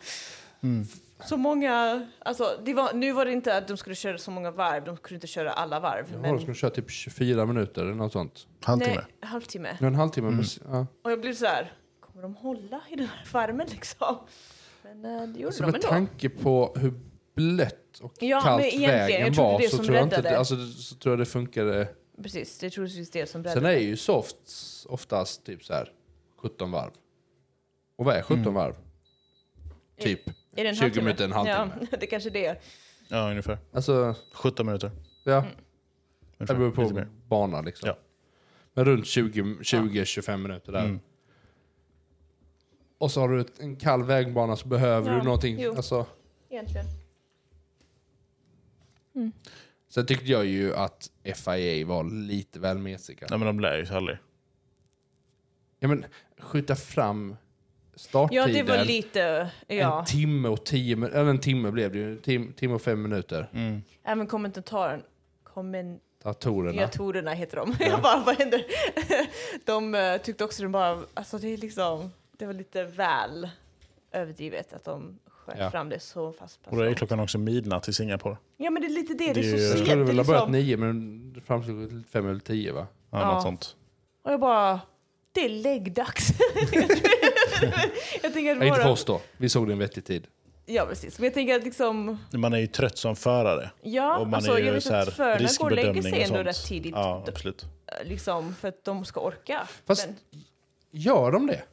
Speaker 2: Mm.
Speaker 3: Så många, alltså det var, nu var det inte att de skulle köra så många varv, de kunde inte köra alla varv.
Speaker 2: jag har
Speaker 3: men,
Speaker 2: de skulle köra typ 24 minuter eller något sånt.
Speaker 1: Halvtimme.
Speaker 3: nej, halvtimme.
Speaker 2: Nu en halvtimme.
Speaker 1: Mm.
Speaker 2: precis, Ja.
Speaker 3: Och jag blev så här, kommer de hålla i den här farmen liksom? Men eh, det gjorde
Speaker 2: Alltså,
Speaker 3: de
Speaker 2: med
Speaker 3: ändå.
Speaker 2: tanke på hur blött och
Speaker 3: Ja,
Speaker 2: kallt
Speaker 3: men egentligen,
Speaker 2: vägen
Speaker 3: jag tror det är
Speaker 2: var
Speaker 3: det
Speaker 2: så
Speaker 3: som
Speaker 2: tror, jag inte,
Speaker 3: räddade.
Speaker 2: alltså, det- så tror jag det funkade.
Speaker 3: Precis, det är troligtvis det som
Speaker 2: Sen
Speaker 3: räddade.
Speaker 2: är ju softs oftast typ så här 17 varv. Och vad är 17
Speaker 1: Mm.
Speaker 2: varv? Typ.
Speaker 3: Är det en
Speaker 2: 20
Speaker 3: halvtimme?
Speaker 2: minuter, en halvtimme.
Speaker 3: Ja, det kanske det är.
Speaker 1: Ja, ungefär.
Speaker 2: Alltså,
Speaker 1: 17 minuter.
Speaker 2: ja, det
Speaker 1: Ungefär.
Speaker 2: beror
Speaker 1: Mm. Lite
Speaker 2: på
Speaker 1: mer.
Speaker 2: bana liksom.
Speaker 1: Ja.
Speaker 2: Men runt 20-25 minuter där.
Speaker 1: Mm.
Speaker 2: Och så har du ett- en kall vägbana så behöver
Speaker 3: Ja,
Speaker 2: du någonting.
Speaker 3: jo.
Speaker 2: Alltså,
Speaker 3: Egentligen.
Speaker 2: sen tyckte jag ju att FIA var lite väl mesiga.
Speaker 1: Nej, men de lär ju sig aldrig.
Speaker 2: Ja, men skjuta fram starttiden.
Speaker 3: Ja, det var lite, ja.
Speaker 2: En timme och tio Mm.
Speaker 3: Äh,
Speaker 2: minuter. Eller en timme blev det ju. En Tim, timme och fem minuter.
Speaker 3: Även kommentaren. Kommen,
Speaker 2: Datorerna.
Speaker 3: Datorerna heter de. Jag bara, vad händer? De eh, tyckte också de bara, alltså det är liksom, det var lite väl överdrivet att de sköt
Speaker 2: Ja.
Speaker 3: fram det så fast.
Speaker 1: Och då är klockan också midnatt i Singapore.
Speaker 3: Ja men det är lite det,
Speaker 1: Det
Speaker 3: det,
Speaker 1: är ju-
Speaker 3: är så
Speaker 2: Jag
Speaker 1: Helt
Speaker 2: skulle
Speaker 3: sent.
Speaker 2: väl
Speaker 3: Det
Speaker 2: ha
Speaker 3: är
Speaker 2: börjat
Speaker 3: liksom,
Speaker 2: nio men det framstod till fem eller tio va?
Speaker 1: Ja,
Speaker 3: Ja.
Speaker 1: Något sånt.
Speaker 3: och jag bara, det är läggdags. jag tänker
Speaker 2: Nej,
Speaker 3: att
Speaker 2: inte för
Speaker 3: våra,
Speaker 2: oss då. Vi såg det en vettig tid.
Speaker 3: ja precis, men jag tänker att liksom,
Speaker 1: Man är ju trött som förare.
Speaker 3: ja,
Speaker 1: och man
Speaker 3: alltså
Speaker 1: är
Speaker 3: jag
Speaker 1: ju
Speaker 3: vet
Speaker 1: så här,
Speaker 3: att förarna går och lägger
Speaker 1: riskbedömning
Speaker 3: sig
Speaker 1: och
Speaker 3: ändå
Speaker 1: sånt.
Speaker 3: rätt tidigt,
Speaker 1: Ja, absolut.
Speaker 3: liksom, för att de ska orka.
Speaker 2: Fast
Speaker 3: Men
Speaker 2: gör de det?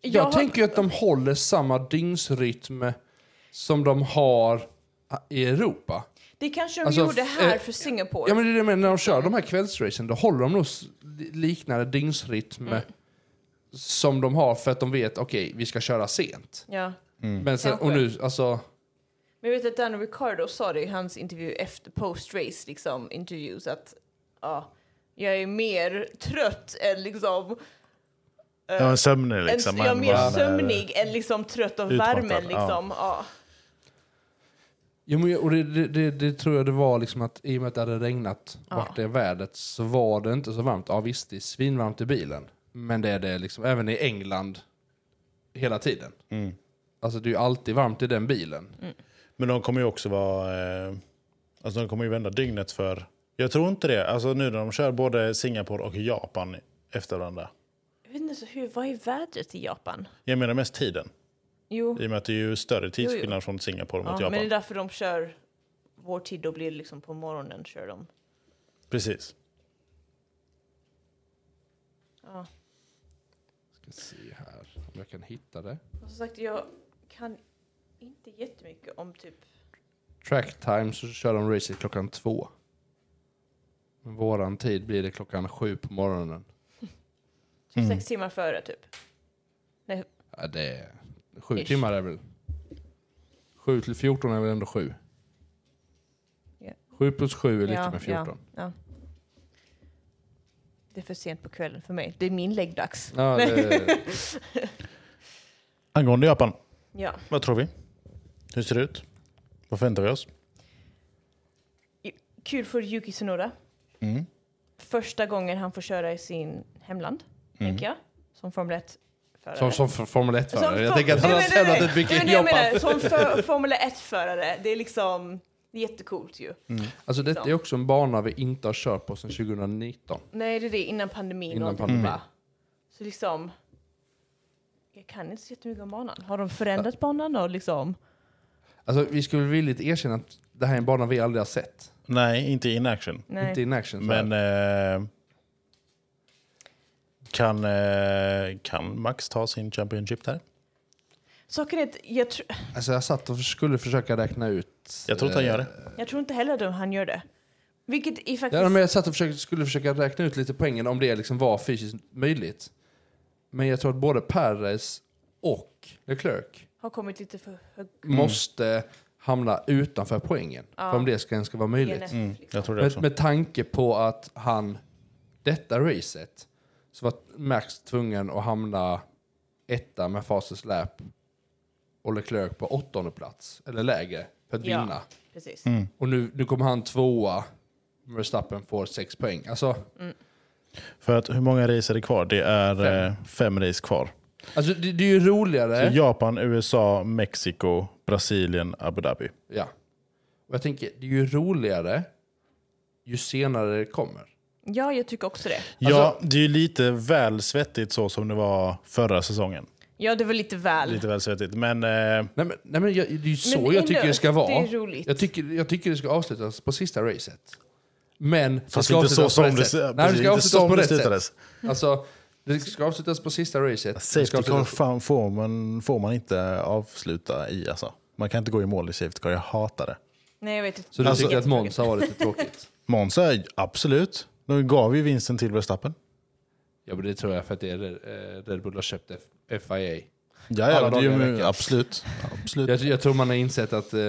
Speaker 2: Jag,
Speaker 3: har-
Speaker 2: tänker ju att de håller samma dygnsrytm som de har i Europa.
Speaker 3: Det kanske de
Speaker 2: Alltså,
Speaker 3: gjorde
Speaker 2: f-
Speaker 3: här
Speaker 2: eh,
Speaker 3: för Singapore.
Speaker 2: Ja men det är det jag menar, när de kör de här kvällsracen då håller de nog s- liknande dygnsrytm
Speaker 3: Mm.
Speaker 2: som de har för att de vet okej vi ska köra sent.
Speaker 3: ja.
Speaker 2: Men sen, och nu alltså
Speaker 3: Men jag vet att Dan Ricardo sa det i hans intervju efter post-race liksom, interviews att ja, jag är mer trött än liksom,
Speaker 1: Ja, men sömnig liksom.
Speaker 3: än, jag är
Speaker 1: Man-
Speaker 3: mer
Speaker 1: man är-
Speaker 3: sömnig än liksom trött av
Speaker 1: Utmattad,
Speaker 3: värmen
Speaker 1: ja.
Speaker 3: liksom. Ja.
Speaker 2: Jo, men, jag- och det, det, det, det tror jag det var liksom att i och med att det hade regnat
Speaker 3: Ja.
Speaker 2: vart det vädret så var det inte så varmt. Ja visst, det är svinvarmt i bilen. Men det är det liksom även i England hela tiden. Alltså det är ju alltid varmt i den bilen.
Speaker 1: Men de kommer ju också vara... Eh, alltså de kommer ju vända dygnet för... Jag tror inte det. Alltså nu när de kör både Singapore och Japan efter varandra.
Speaker 3: Jag vet inte så hur, vad är vädret i Japan?
Speaker 1: Jag menar mest tiden.
Speaker 3: Jo,
Speaker 1: I och med att det är ju större tidsskillnad från Singapore mot
Speaker 3: ja, men det är
Speaker 1: Japan.
Speaker 3: därför de kör vår tid, då blir det liksom på morgonen kör de.
Speaker 1: Precis.
Speaker 3: Ja.
Speaker 2: Ska se här om jag kan hitta det.
Speaker 3: Och som sagt, jag kan inte jättemycket om typ
Speaker 2: Track time så kör de racet klockan två. Men våran tid blir det klockan sju på morgonen.
Speaker 3: typ
Speaker 2: Mm.
Speaker 3: sex timmar före typ.
Speaker 2: Ja, det är sju
Speaker 3: Ish.
Speaker 2: timmar är väl... Sju till 14 är väl ändå sju?
Speaker 3: Ja.
Speaker 2: Sju plus sju är lika
Speaker 3: Ja,
Speaker 2: med 14.
Speaker 3: Ja, ja. Det är för sent på kvällen för mig. Det är min läggdags.
Speaker 2: Ja, det,
Speaker 1: Angående Japan,
Speaker 3: Ja.
Speaker 1: vad tror vi? Hur ser det ut? Vad förväntar vi oss?
Speaker 3: Kul för Yuki Tsunoda.
Speaker 1: Mm.
Speaker 3: Första gången han får köra i sin hemland, tänker jag. Som Formel 1-förare.
Speaker 2: Mm. som som för- Formel 1-förare.
Speaker 3: Som
Speaker 2: Jag
Speaker 3: for-
Speaker 2: tänker att han
Speaker 3: Nej,
Speaker 2: har
Speaker 3: men, nej,
Speaker 2: tävlat
Speaker 3: nej.
Speaker 2: ett mycket
Speaker 3: Nej,
Speaker 2: i
Speaker 3: men det jag
Speaker 2: Japan.
Speaker 3: menar, Som för, Formel 1-förare, det är liksom det är jättecoolt ju.
Speaker 1: Mm.
Speaker 2: Alltså, detta är också en bana vi inte har kört på sedan 2019.
Speaker 3: Nej, det är det innan pandemin. och
Speaker 2: Innan
Speaker 3: allting,
Speaker 2: pandemin.
Speaker 3: va? Så liksom, jag kan inte så jättemycket om banan. Har de förändrat banan då liksom?
Speaker 2: Alltså, vi skulle villigt erkänna att det här är en bana vi aldrig har sett.
Speaker 1: Nej, inte in action.
Speaker 3: Nej.
Speaker 2: Inte in action. så här.
Speaker 1: Men... Eh, kan, eh, kan Max ta sin Championship där?
Speaker 3: Saken är att jag, tr-
Speaker 2: Alltså, jag satt och skulle försöka räkna ut...
Speaker 1: Jag tror att han
Speaker 2: eh,
Speaker 1: gör det.
Speaker 3: Jag tror inte heller att han gör det. Vilket är faktiskt...
Speaker 2: Ja, men jag satt och försökte, skulle försöka räkna ut lite poängen om det liksom var fysiskt möjligt. Men jag tror att både Perez och Leclerc
Speaker 3: Har kommit lite för hög
Speaker 2: måste hamna utanför poängen för om det ska, ens ska vara möjligt.
Speaker 3: DNF.
Speaker 1: Mm,
Speaker 3: Liksom.
Speaker 1: jag tror det
Speaker 2: Med,
Speaker 1: också.
Speaker 2: med tanke på att han, detta racet, så var Max tvungen att hamna etta med Fases lap och Leclerc på åttonde plats, eller lägre, för att
Speaker 3: Ja.
Speaker 2: vinna.
Speaker 3: Precis.
Speaker 2: Och nu, nu kommer han tvåa, Verstappen får sex poäng. Alltså,
Speaker 1: För att hur många race är det kvar? Det är fem, eh, fem race kvar.
Speaker 2: Alltså det, det är ju roligare.
Speaker 1: Så Japan, USA, Mexiko, Brasilien, Abu Dhabi.
Speaker 2: Ja. Och jag tänker, det är ju roligare ju senare det kommer.
Speaker 3: Ja, jag tycker också det.
Speaker 1: ja, det är ju lite väl svettigt så som det var förra säsongen.
Speaker 3: Ja, det var lite väl.
Speaker 1: Lite väl svettigt, men eh,
Speaker 2: Nej men, nej, men jag, det är ju så
Speaker 3: Men
Speaker 2: jag
Speaker 3: ändå,
Speaker 2: tycker det ska
Speaker 3: det
Speaker 2: vara.
Speaker 3: är roligt.
Speaker 2: Jag, tycker, jag tycker det ska avslutas på sista racet. Men det
Speaker 1: fast
Speaker 2: ska
Speaker 1: inte så
Speaker 2: avslutas på
Speaker 1: som
Speaker 2: rätt
Speaker 1: det,
Speaker 2: sätt. Nej,
Speaker 1: precis,
Speaker 2: det ska
Speaker 1: inte
Speaker 2: avslutas
Speaker 1: som
Speaker 2: på
Speaker 1: det
Speaker 2: rätt sätt.
Speaker 1: slutades.
Speaker 2: Alltså, det ska avslutas på sista racet. Det ska
Speaker 1: Safety car
Speaker 2: avslutas-
Speaker 1: fan får man, får man inte avsluta i. Alltså. Man kan inte gå i mål i safety car, jag hatar det.
Speaker 3: Nej, jag vet inte.
Speaker 2: Så du
Speaker 1: Alltså-
Speaker 2: tycker att Måns har varit lite tråkigt?
Speaker 1: Monza, absolut. De gav ju vinsten till Verstappen.
Speaker 2: Ja men det tror jag för att det är eh, Red Bull har köpt F- FIA.
Speaker 1: Ja,
Speaker 2: Alla
Speaker 1: ja det är
Speaker 2: dagar i
Speaker 1: ju,
Speaker 2: veckan.
Speaker 1: absolut. absolut.
Speaker 2: Jag, jag tror man har insett att eh,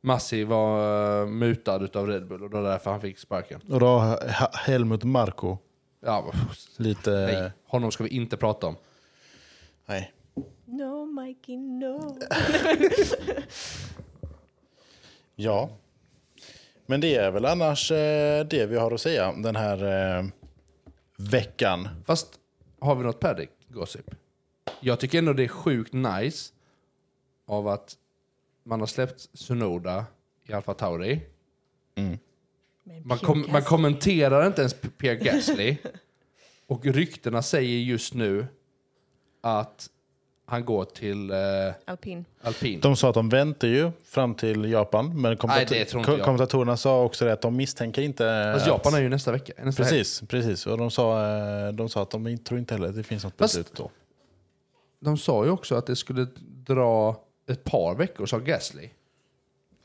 Speaker 2: Massi var eh, mutad av Red Bull och det var därför han fick sparken.
Speaker 1: Och då har Ha- Helmut Marko
Speaker 2: Ja,
Speaker 1: lite...
Speaker 2: nej, honom ska vi inte prata om.
Speaker 1: nej.
Speaker 3: No, Mikey, no.
Speaker 1: Ja. Men det är väl annars eh, det vi har att säga den här eh, veckan.
Speaker 2: Fast har vi något paddock gossip? Jag tycker ändå det är sjukt nice av att man har släppt Sunoda i Alfa Tauri.
Speaker 3: Med en
Speaker 2: Man,
Speaker 3: pjäs.
Speaker 2: kom, man kommenterar inte ens Pierre Gasly. Och ryktena säger just nu att han går till eh,
Speaker 3: Alpin.
Speaker 2: alpin.
Speaker 1: De sa att de väntar ju fram till Japan, men
Speaker 2: Nej, det
Speaker 1: kommenta-
Speaker 2: tror inte jag.
Speaker 1: kommentatorerna sa också det att de misstänker inte...
Speaker 2: Fast
Speaker 1: att-
Speaker 2: Japan är ju nästa vecka. Nästa helg.
Speaker 1: Precis, precis. Och de sa, eh, de sa att de inte- tror inte heller att det finns något
Speaker 2: Fast-
Speaker 1: beslut då.
Speaker 2: De sa ju också att det skulle dra ett par veckor, sa Gasly.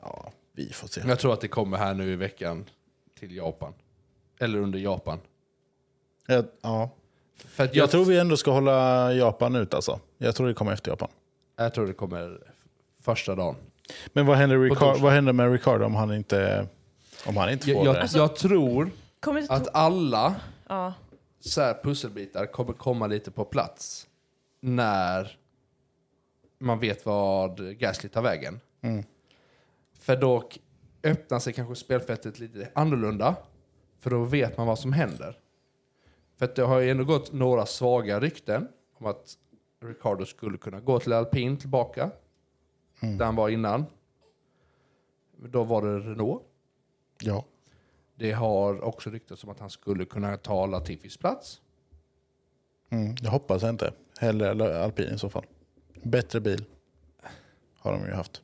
Speaker 1: Ja, vi får se.
Speaker 2: Jag tror att det kommer här nu i veckan till Japan. Eller under Japan.
Speaker 1: Jag, ja.
Speaker 2: För att jag,
Speaker 1: jag tror vi ändå ska hålla Japan ut alltså. Jag tror det kommer efter Japan.
Speaker 2: jag tror det kommer första dagen.
Speaker 1: Men vad händer,
Speaker 2: På
Speaker 1: Ricar-
Speaker 2: torsdag.
Speaker 1: vad händer med Ricardo om han inte, om han inte
Speaker 2: Jag,
Speaker 1: får
Speaker 2: jag, alltså-
Speaker 1: det?
Speaker 2: jag tror
Speaker 3: Kommer inte to-
Speaker 2: att alla
Speaker 3: ja.
Speaker 2: så här pusselbitar kommer komma lite på plats när man vet vad Gasly tar vägen. För då k- öppnar sig kanske spelfältet lite annorlunda. För då vet man vad som händer. För att det har ju ändå gått några svaga rykten om att Ricardo skulle kunna gå till alpin tillbaka. Där han var innan. Då var det Renault.
Speaker 1: Ja.
Speaker 2: Det har också ryktats om att han skulle kunna ta Latifis plats.
Speaker 1: Mm, jag hoppas inte. Hellre alpin i så fall. Bättre bil har de ju haft.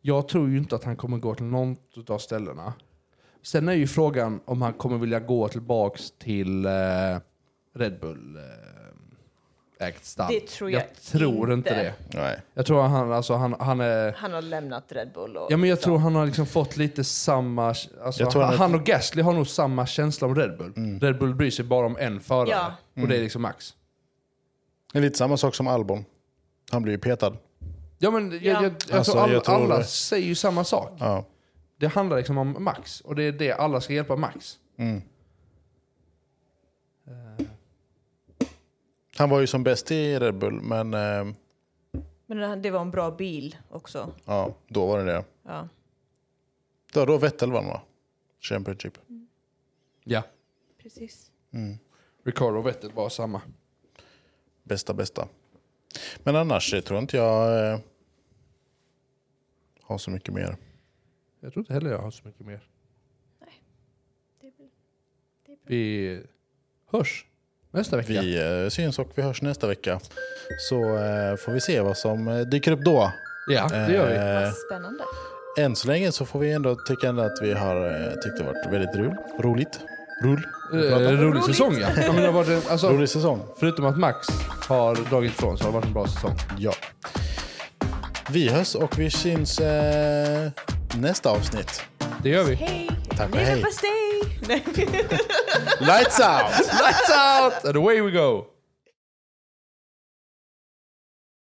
Speaker 2: Jag tror ju inte att han kommer gå till något av ställena. Sen är ju frågan om han kommer vilja gå tillbaks till eh, Red Bull eh, ägt stall.
Speaker 3: Det tror jag
Speaker 2: tror inte
Speaker 3: inte.
Speaker 2: det.
Speaker 1: Nej.
Speaker 2: Jag tror han, alltså, han, han är...
Speaker 3: Han har lämnat Red Bull. Och,
Speaker 2: Ja, men jag tror han har liksom fått lite samma... Alltså,
Speaker 1: Jag tror han
Speaker 2: han,
Speaker 1: är- Mm.
Speaker 2: och Gasly har nog samma känsla om Red Bull. Red Bull bryr sig bara om en förare.
Speaker 3: Ja.
Speaker 2: Och det är liksom Max.
Speaker 1: Det är lite samma sak som Albon. Han blir ju petad.
Speaker 2: Ja, men jag,
Speaker 3: Ja.
Speaker 2: jag, jag,
Speaker 1: Alltså,
Speaker 2: tror alla,
Speaker 1: jag tror
Speaker 2: alla
Speaker 1: det.
Speaker 2: säger ju samma sak.
Speaker 1: Ja.
Speaker 2: Det handlar liksom om Max och det är det alla ska hjälpa Max.
Speaker 1: Han var ju som bäst i Red Bull, men eh,
Speaker 3: Men det- det var en bra bil också.
Speaker 1: ja, då var det det.
Speaker 3: Ja.
Speaker 1: Då, då Vettel vann va? Championship.
Speaker 2: Ja.
Speaker 3: Precis.
Speaker 2: Ricardo och Vettel var samma.
Speaker 1: Bästa, bästa. Men annars eh, tror inte jag eh, har så mycket mer.
Speaker 2: Jag tror inte heller jag har så mycket mer.
Speaker 3: Det är väl-
Speaker 2: Vi hörs nästa vecka.
Speaker 1: Vi eh, syns och vi hörs nästa vecka. Så eh, får vi se vad som eh, dyker upp då.
Speaker 2: Ja, det gör vi.
Speaker 1: Eh,
Speaker 3: Vad spännande.
Speaker 1: Än så länge så får vi ändå tycka ändå att vi har eh, tyckt det varit väldigt rul, roligt. Rull.
Speaker 2: Eh, rolig säsong ja. ja men det har varit, en- alltså,
Speaker 1: Rolig säsong.
Speaker 2: förutom att Max har dragit ifrån så har det varit en bra säsong.
Speaker 1: Ja. Vi hörs och vi syns eh, nästa avsnitt.
Speaker 2: Det gör vi.
Speaker 3: Hej!
Speaker 1: Tack och
Speaker 3: Leave
Speaker 1: hej.
Speaker 3: a stay! Nej.
Speaker 1: Lights out!
Speaker 2: Lights out! And away we go!